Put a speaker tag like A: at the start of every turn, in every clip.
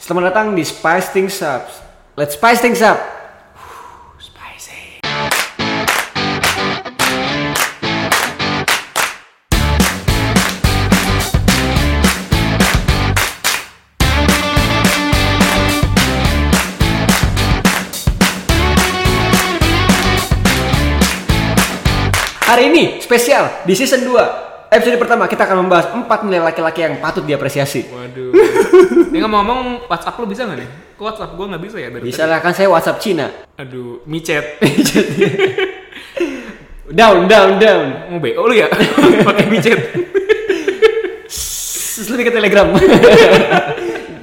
A: Selamat datang di Spice Things Up. Let's spice things up. Huh, Spicy. Hari ini spesial di season 2 episode pertama kita akan membahas 4 nilai laki-laki yang patut diapresiasi.
B: Waduh. Ini ngomong-ngomong WhatsApp lu bisa nggak nih? Kok WhatsApp gua nggak bisa ya dari
A: Bisa lah kan saya WhatsApp Cina.
B: tadi? Aduh, micet.
A: down, down, down.
B: Mau BO lu ya? Pakai micet.
A: Terus lebih ke Telegram.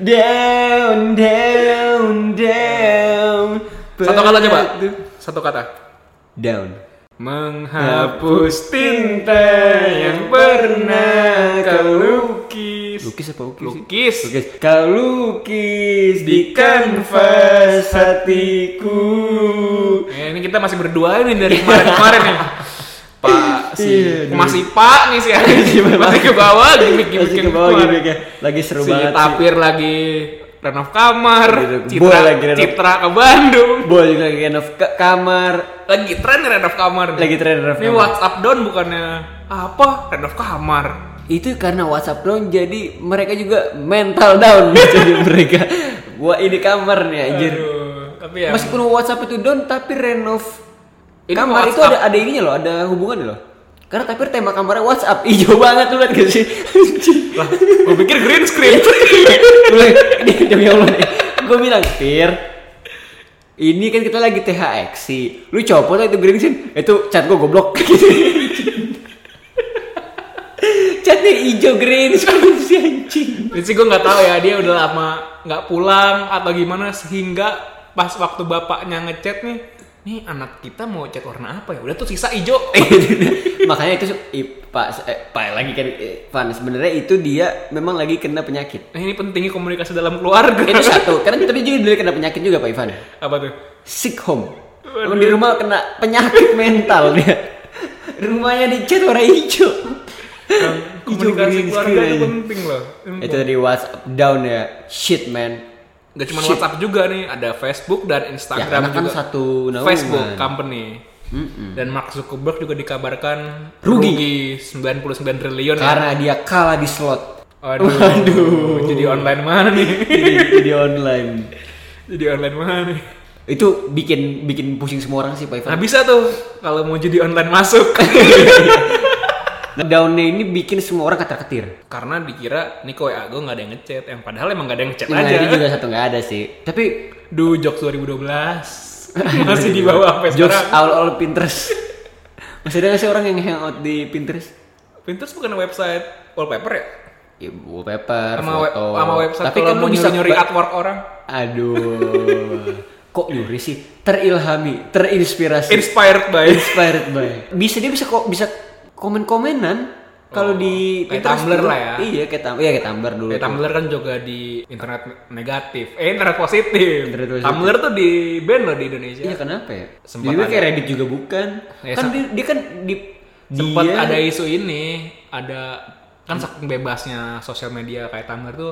A: down, down, down.
B: Satu kata coba. Satu kata.
A: Down.
B: Menghapus tinta yang pernah kau lukis.
A: Lukis apa ukis? sih?
B: Lukis.
A: Lukis. Kau lukis di kanvas hatiku.
B: Eh, ini kita masih berdua nih dari kemarin-kemarin ya. Pak si
A: Iya,
B: masih Pak nih sih masih ke bawah gimmick gimmick
A: Masih ke bawah gini kayak lagi seru
B: si
A: banget. sih.
B: tapir lagi renov kamar,
A: Gitu,
B: Citra,
A: boy lagi renov.
B: Citra ke Bandung,
A: Boy juga lagi renov ke kamar,
B: lagi tren nih renov kamar. nih.
A: lagi tren renov
B: Ini
A: kamar.
B: WhatsApp down bukannya apa renov kamar?
A: itu karena WhatsApp down jadi mereka juga mental down jadi mereka wah ini kamar nih anjir
B: Aduh, tapi ya
A: meskipun WhatsApp itu down tapi renov
B: Ini
A: kamar itu ada ada ininya loh ada hubungannya loh karena tapi tema kamarnya WhatsApp hijau banget lu liat gak sih Anjing.
B: lah, gue pikir green screen.
A: Lu liat, ini demi Allah nih gue bilang Fir ini kan kita lagi THX lu copot lah itu green screen itu chat gue goblok chatnya hijau green screen si anjing
B: Jadi sih gue nggak tahu ya dia udah lama nggak pulang atau gimana sehingga pas waktu bapaknya ngechat nih, nih anak kita mau cat warna apa ya? Udah tuh sisa ijo.
A: makanya itu i- pak eh, pak lagi kan eh, Van sebenarnya itu dia memang lagi kena penyakit
B: Nah, ini pentingnya komunikasi dalam keluarga.
A: itu satu karena tapi juga dia kena penyakit juga pak Ivan
B: apa tuh?
A: sick home Emang di rumah kena penyakit mental dia rumahnya dicat warna hijau hijau
B: Kan komunikasi
A: green
B: keluarga itu
A: screen
B: penting loh.
A: itu tadi WhatsApp down ya shit man
B: Gak cuma WhatsApp juga nih, ada Facebook dan Instagram
A: Ya, karena kan
B: juga.
A: satu naungan. Hmm.
B: Facebook company. Dan Mark Zuckerberg juga dikabarkan
A: Rugi.
B: rugi, 99 triliun. ya.
A: karena dia kalah di slot
B: Aduh, Jadi online mana nih?
A: jadi, jadi online
B: jadi online mana nih?
A: itu bikin bikin pusing semua orang sih pak Ivan
B: Nah bisa tuh kalau mau jadi online masuk.
A: Downnya ini bikin semua orang ketar-ketir.
B: Karena dikira nih kok ya gue nggak ada yang ngechat, yang padahal emang nggak ada yang ngechat
A: Yang
B: aja.
A: ini juga satu nggak ada sih. Tapi
B: Duh, jokes 2012 masih di bawah Oh, sampai
A: jokes
B: sekarang.
A: awal-awal Pinterest. Masih ada nggak sih orang yang hangout di Pinterest?
B: Pinterest bukan website wallpaper ya?
A: Ya, wallpaper,
B: Sama, we-
A: foto.
B: sama website
A: Tapi
B: kalau
A: kan
B: mau
A: lu bisa
B: nyuri-nyuri
A: ba-
B: artwork orang.
A: Aduh. Kok nyuri sih? Terilhami, terinspirasi,
B: Inspired by
A: inspired by. Bisa dia bisa kok bisa komen-komenan kalau di
B: Oh, kayak
A: Pinterest
B: Tumblr
A: dulu.
B: lah ya.
A: Iya, kayak Tumblr. Iya, kayak Tumblr dulu.
B: Ya, Tumblr kan juga di internet negatif, eh internet positif.
A: Internet positif.
B: Tumblr tuh di ban loh di Indonesia.
A: Iya, kenapa ya?
B: Sempat
A: Juga
B: ada.
A: kayak Reddit juga bukan.
B: Ya,
A: kan
B: sem-
A: dia, dia kan di
B: Sempat
A: dia-
B: ada isu ini, ada kan saking bebasnya sosial media kayak Tumblr tuh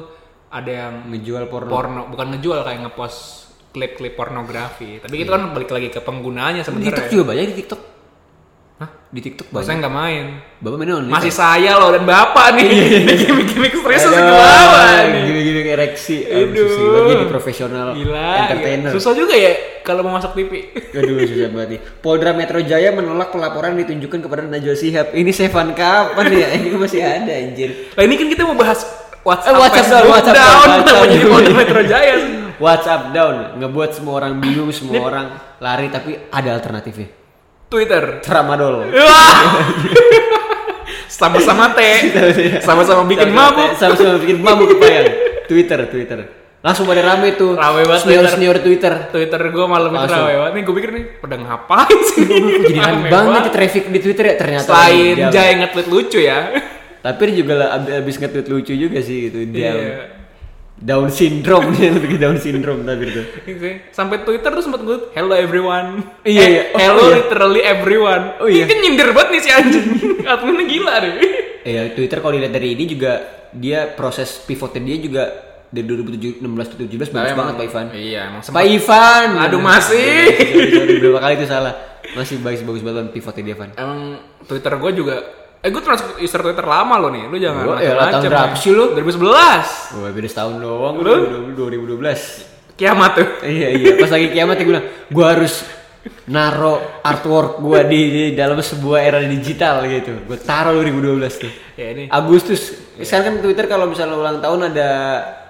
B: ada yang
A: ngejual porno.
B: porno, bukan ngejual kayak ngepost klip-klip pornografi. Tapi itu
A: Iya.
B: kan balik lagi ke
A: di
B: penggunaannya
A: TikTok
B: sebenarnya.
A: juga banyak di TikTok.
B: Hah?
A: Di TikTok banyak. Iya.
B: Saya nggak main.
A: Bapak mainnya online.
B: Masih saya loh dan bapak nih.
A: Iya,
B: Ini Gimik-gimik stresnya ke nih.
A: Gini-gini kayak reaksi.
B: Aduh.
A: Susah banget jadi profesional
B: Gila. iya.
A: entertainer.
B: Susah juga ya kalau mau masuk TV.
A: Aduh susah banget nih. Polda Metro Jaya menolak pelaporan yang ditunjukkan kepada Najwa Shihab. Ini Sevan kapan ya? Ini masih ada anjir.
B: Nah ini kan kita mau bahas WhatsApp,
A: Eh, WhatsApp down,
B: Facebook
A: WhatsApp down,
B: down,
A: WhatsApp
B: kenapa kan, jadi
A: down.
B: Polda Metro Jaya sih?
A: WhatsApp down ngebuat semua orang bingung, semua orang lari tapi ada alternatifnya.
B: Twitter.
A: Tramadol.
B: Wah. Sama-sama teh, sama-sama bikin mabuk.
A: Sama-sama bikin mabuk kebayang. Twitter, Twitter. Langsung pada rame tuh.
B: Rame banget
A: Senior-senior Twitter.
B: Twitter gue malam itu
A: Langsung.
B: rame banget. Nih gue pikir nih pada ngapain sih?
A: jadi rame banget nih traffic di Twitter ya ternyata.
B: Selain
A: Diam.
B: Jaya nge-tweet lucu ya.
A: Tapi dia juga lah ab- abis nge-tweet lucu juga sih itu dia.
B: Iya.
A: Down syndrome dia lebih ke down syndrome tapi itu.
B: Gitu sih. Sampai Twitter tuh sempet gue hello everyone.
A: Iya,
B: Eh,
A: iya. Oh,
B: hello
A: iya.
B: literally everyone.
A: Oh, iya.
B: Ini kan nyindir banget nih si anjing. Adminnya gila deh.
A: Iya, Ya Twitter kalau dilihat dari ini juga dia proses pivotnya dia juga dari 2016 2017 bagus
B: emang-
A: banget Pak Ivan. Iya,
B: Iya, emang sempat.
A: Pak Ivan.
B: Aduh, masih.
A: Sorry, sorry, berapa kali itu salah. Masih bagus bagus banget pivotnya dia Van.
B: Emang Twitter gue juga Eh gue termasuk user Twitter lama lo nih, lu jangan
A: Gua, ya, lah, tahun berapa sih lu?
B: 2011
A: Wah, beda setahun doang.
B: Lu?
A: 2012.
B: Kiamat tuh
A: iya iya pas lagi kiamat ya gue bilang gue harus naro artwork gue di, di dalam sebuah era digital gitu gue taruh 2012 tuh
B: Ya ini Iya.
A: Agustus sekarang kan Twitter kalau misalnya ulang tahun ada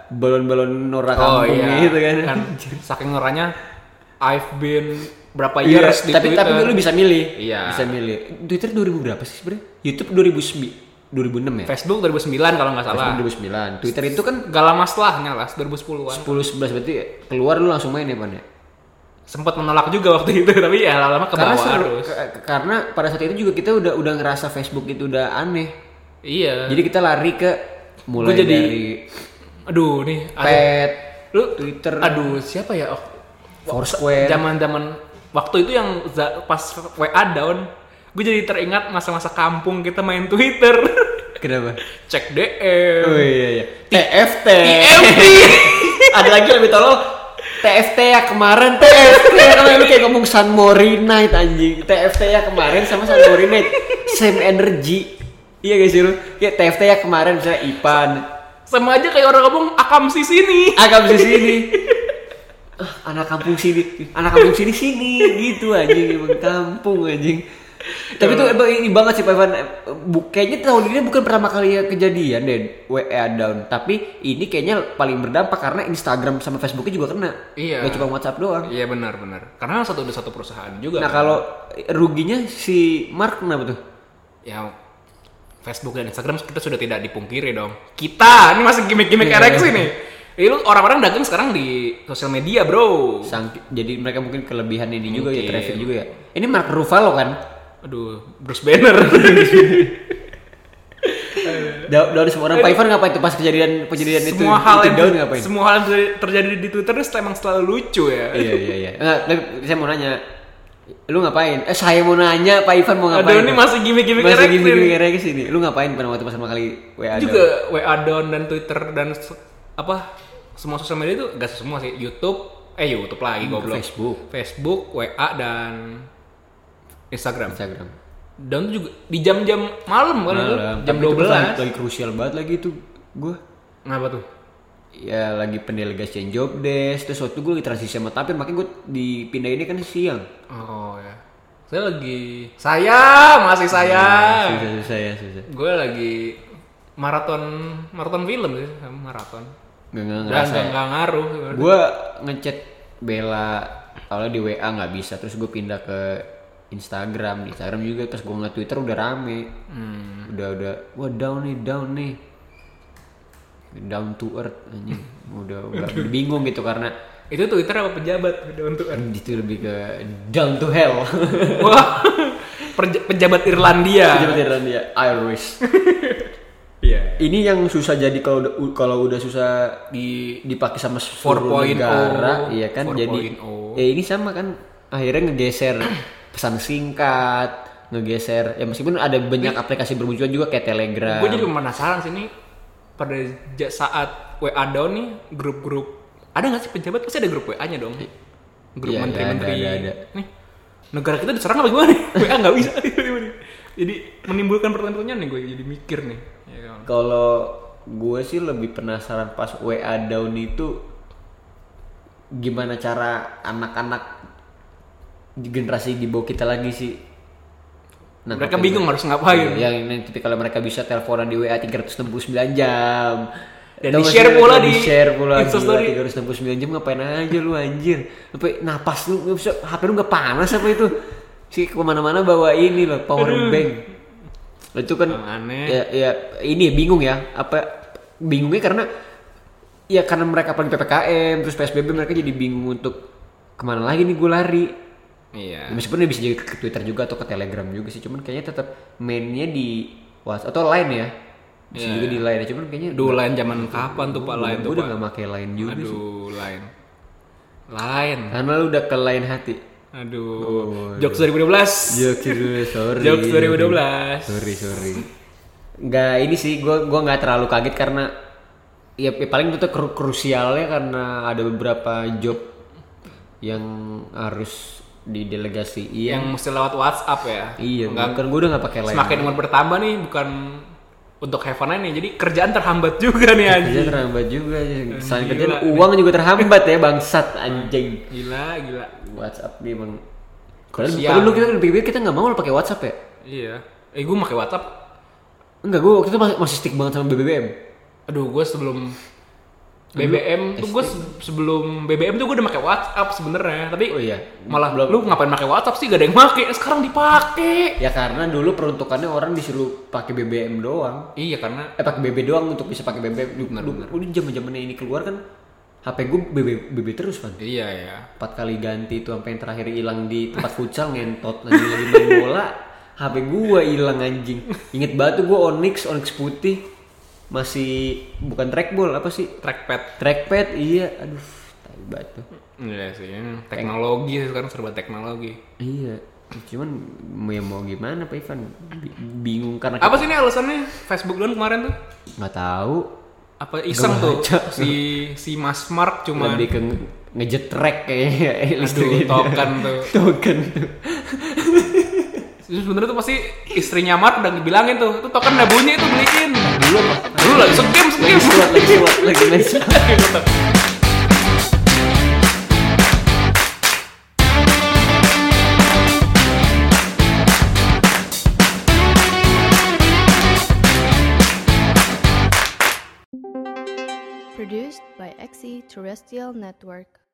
A: balon-balon Nora
B: Oh
A: kampung
B: iya
A: gitu kan,
B: Saking orangnya I've been berapa
A: Iya,
B: years di
A: tapi
B: Twitter
A: tapi lu bisa milih
B: Iya.
A: bisa milih Twitter 2000 berapa sih sebenarnya YouTube 2009 2006 ya
B: Facebook 2009 kalau nggak salah
A: 2009 Twitter itu kan
B: Gak lama setelahnya lah 2010-an
A: 10 11 berarti keluar lu langsung main ya pan ya
B: Sempat menolak juga waktu itu Tapi ya lama-lama ke
A: karena
B: bawah
A: seru-
B: terus
A: ke- ke- karena pada saat itu juga kita udah udah ngerasa Facebook itu udah aneh
B: Iya
A: jadi kita lari ke mulai
B: Gua jadi-
A: dari
B: Aduh nih ada-
A: pet
B: Lu
A: Twitter
B: Aduh siapa ya oh,
A: Foursquare
B: zaman zaman waktu itu yang za- pas WA down gue jadi teringat masa-masa kampung kita main Twitter
A: kenapa
B: cek DM
A: oh iya iya TFT
B: TFT.
A: ada lagi lebih tolol TFT ya kemarin TFT ya kemarin Lu kayak ngomong San Mori Night anjing TFT ya kemarin sama San Mori Night same energy iya guys sih lu kayak TFT ya kemarin misalnya Ipan
B: sama aja kayak orang ngomong akam si sini
A: agak di sini Ah, anak kampung sini anak kampung sini sini gitu anjing emang kampung anjing tapi tuh emang ini banget sih Pak Ivan Bu- kayaknya tahun ini bukan pertama kali ya kejadian deh WA down tapi ini kayaknya paling berdampak karena Instagram sama Facebooknya juga kena
B: Iya.
A: gak cuma WhatsApp doang
B: iya benar benar karena satu udah satu perusahaan juga kan.
A: nah kalau ruginya si Mark kenapa tuh
B: ya Facebook dan Instagram kita sudah tidak dipungkiri dong kita ini masih gimmick-gimmick
A: Iya.
B: ereksi nih Ini lu orang-orang dagang sekarang di sosial media bro
A: Sang, jadi mereka mungkin kelebihan ini juga ya
B: Mungkin.
A: traffic juga ya ini Mark Ruffalo kan
B: aduh Bruce Banner
A: Da- Daun semua orang Pak Ivan ngapain tuh pas kejadian kejadian itu
B: semua hal
A: itu
B: yang
A: daun ngapain
B: semua hal yang terjadi- terjadi di Twitter itu emang selalu lucu ya
A: iya iya iya Nggak, tapi saya mau nanya lu ngapain eh saya mau nanya Pak Ivan mau ngapain ya?
B: Aduh ini masih gimmick-gimmick
A: masih
B: ereksi
A: gini gini
B: nih.
A: kira ke sini lu ngapain pada waktu pertama kali WA
B: Juga WA down dan Twitter dan se- apa semua sosial media itu gak semua sih YouTube eh YouTube lagi
A: Daun? Ke
B: goblok
A: Hmm, Facebook
B: Facebook, WA dan Instagram.
A: Instagram
B: Down tuh juga di jam-jam malam kan itu,
A: Malam.
B: jam
A: Tapi itu pas
B: 12.
A: lagi krusial banget lagi itu gue
B: Kenapa tuh?
A: ya lagi pendelegasian job desk terus waktu gue lagi transisi sama tapir makanya gue dipindahinnya kan siang
B: Oh ya. Saya lagi saya masih saya.
A: susah susah ya susah
B: Gue lagi maraton maraton film sih, maraton.
A: nggak nggak ya?
B: Udah
A: ngerasa
B: nggak nggak ngaruh.
A: gue ngechat Bella awalnya di WA nggak bisa terus gue pindah ke Instagram di Instagram juga terus gue nge Twitter udah rame udah udah wah down nih down nih down to earth anjing udah, udah bingung gitu karena
B: Itu Twitter apa pejabat udah untuk
A: itu lebih ke down to hell
B: Wah. perja- pejabat Irlandia.
A: Pejabat Irlandia, Irish
B: Iya.
A: ini yang susah jadi kalau udah- kalau udah susah di dipakai sama seluruh
B: 4.0 oh.
A: negara iya kan jadi
B: 4.0.
A: ya ini sama kan akhirnya ngegeser pesan singkat ngegeser ya meskipun ada banyak aplikasi bermunculan juga kayak Telegram
B: Gue jadi penasaran sih nih pada ja- saat WA down nih grup-grup ada nggak sih pejabat pasti ada grup WA-nya dong. Grup
A: Iya, ada,
B: menteri-menteri.
A: ada, ada, ada.
B: Nih negara kita diserang apa gimana nih? WA nggak bisa. jadi menimbulkan pertanyaan-pertanyaan nih gue jadi mikir nih. Ya kan?
A: kalau gue sih lebih penasaran pas WA down itu gimana cara anak-anak generasi di bawah kita lagi sih Nah,
B: Mereka bingung harus ngapain.
A: Iya, yang nanti kalau mereka bisa teleponan di WA 369 jam.
B: Dan
A: Tau gak
B: di-share
A: sih,
B: pula
A: dan
B: di
A: di-share pula di
B: Instastory.
A: 369 jam ngapain aja lu anjir. Sampai napas lu nggak bisa HP lu nggak panas apa itu? Si kemana mana bawa ini loh power bank. Itu kan
B: Yang aneh.
A: Ya, ya, ini bingung ya. Apa bingungnya karena ya karena mereka paling PPKM terus PSBB mereka jadi bingung untuk kemana lagi nih gue lari
B: Iya.
A: Ya, meskipun dia bisa jadi ke Twitter juga atau ke Telegram juga sih, cuman kayaknya tetap mainnya di WhatsApp atau Line ya.
B: Iya,
A: Bisa juga di Line, ya, cuman kayaknya
B: Aduh lain zaman kapan tuh Pak lain
A: gue
B: tuh
A: udah
B: Pak?
A: gak pakai Line juga. sih.
B: Aduh lain. Lain.
A: Karena lu udah ke Line hati.
B: Aduh. Jokes 2012.
A: Jokes dulu, sorry.
B: Jokes 2012.
A: Sorry, sorry. Nggak, ini sih gue gua nggak terlalu kaget karena ya, ya paling itu tuh kru- krusialnya karena ada beberapa job yang harus didelegasiin.
B: yang mesti lewat WhatsApp ya.
A: Iya,
B: Iya. Nggak-
A: bukan gue udah nggak pakai lain.
B: Semakin umur bertambah nih bukan untuk have fun nih. Jadi kerjaan terhambat juga nih
A: Kerja
B: anjing.
A: terhambat juga, selain
B: Gila.
A: kerja uang juga terhambat ya bangsat anjing.
B: Gila, gila.
A: WhatsApp nih emang. Kalau
B: Krusial.
A: dulu kita lebih kita nggak mau lo pakai WhatsApp ya.
B: Iya. Eh gue pakai WhatsApp.
A: Enggak, gue waktu itu masih, masih stick banget sama BBM.
B: Aduh, gue sebelum BBM tuh gue se- sebelum BBM tuh gue udah pakai WhatsApp sebenarnya, tapi
A: Oh iya.
B: malah lu ngapain pakai WhatsApp sih? Gak ada yang make. Sekarang dipakai.
A: Ya karena dulu peruntukannya orang disuruh pakai BBM doang.
B: Iya karena
A: Eh pakai BB doang untuk bisa pakai BBM. Lu- lu- Udah zaman-zamannya ini keluar kan HP gue BB, BB terus kan.
B: iya ya.
A: Empat kali ganti itu sampai yang terakhir hilang di tempat futsal ngentot lagi lagi main bola. HP gue hilang anjing. Ingat banget tuh gue Onyx, Onyx putih. Masih bukan trackball apa sih?
B: Trackpad.
A: Trackpad iya. Aduh, tai banget tuh.
B: Iya sih. Teknologi sih sekarang serba teknologi.
A: Iya, cuman mau- ya mau gimana Pak Ivan? Bi- Bingung karena
B: Apa sih ini alasannya Facebook down kemarin tuh?
A: nggak tahu.
B: Apa iseng tuh
A: baca.
B: si si Mas Mark cuma
A: Lebih ke nge- ngejetrek kayaknya
B: aduh
A: listriknya.
B: token tuh.
A: Token tuh.
B: Terus sebenarnya tuh pasti istrinya Mark udah bilangin tuh, itu token udah bunyi itu beliin.
A: Dulu apa?
B: Lu lagi segame
A: Lagi
B: segame.
A: suat, lagi suat, lagi main suat.
C: Produced by XE E Terrestrial Network.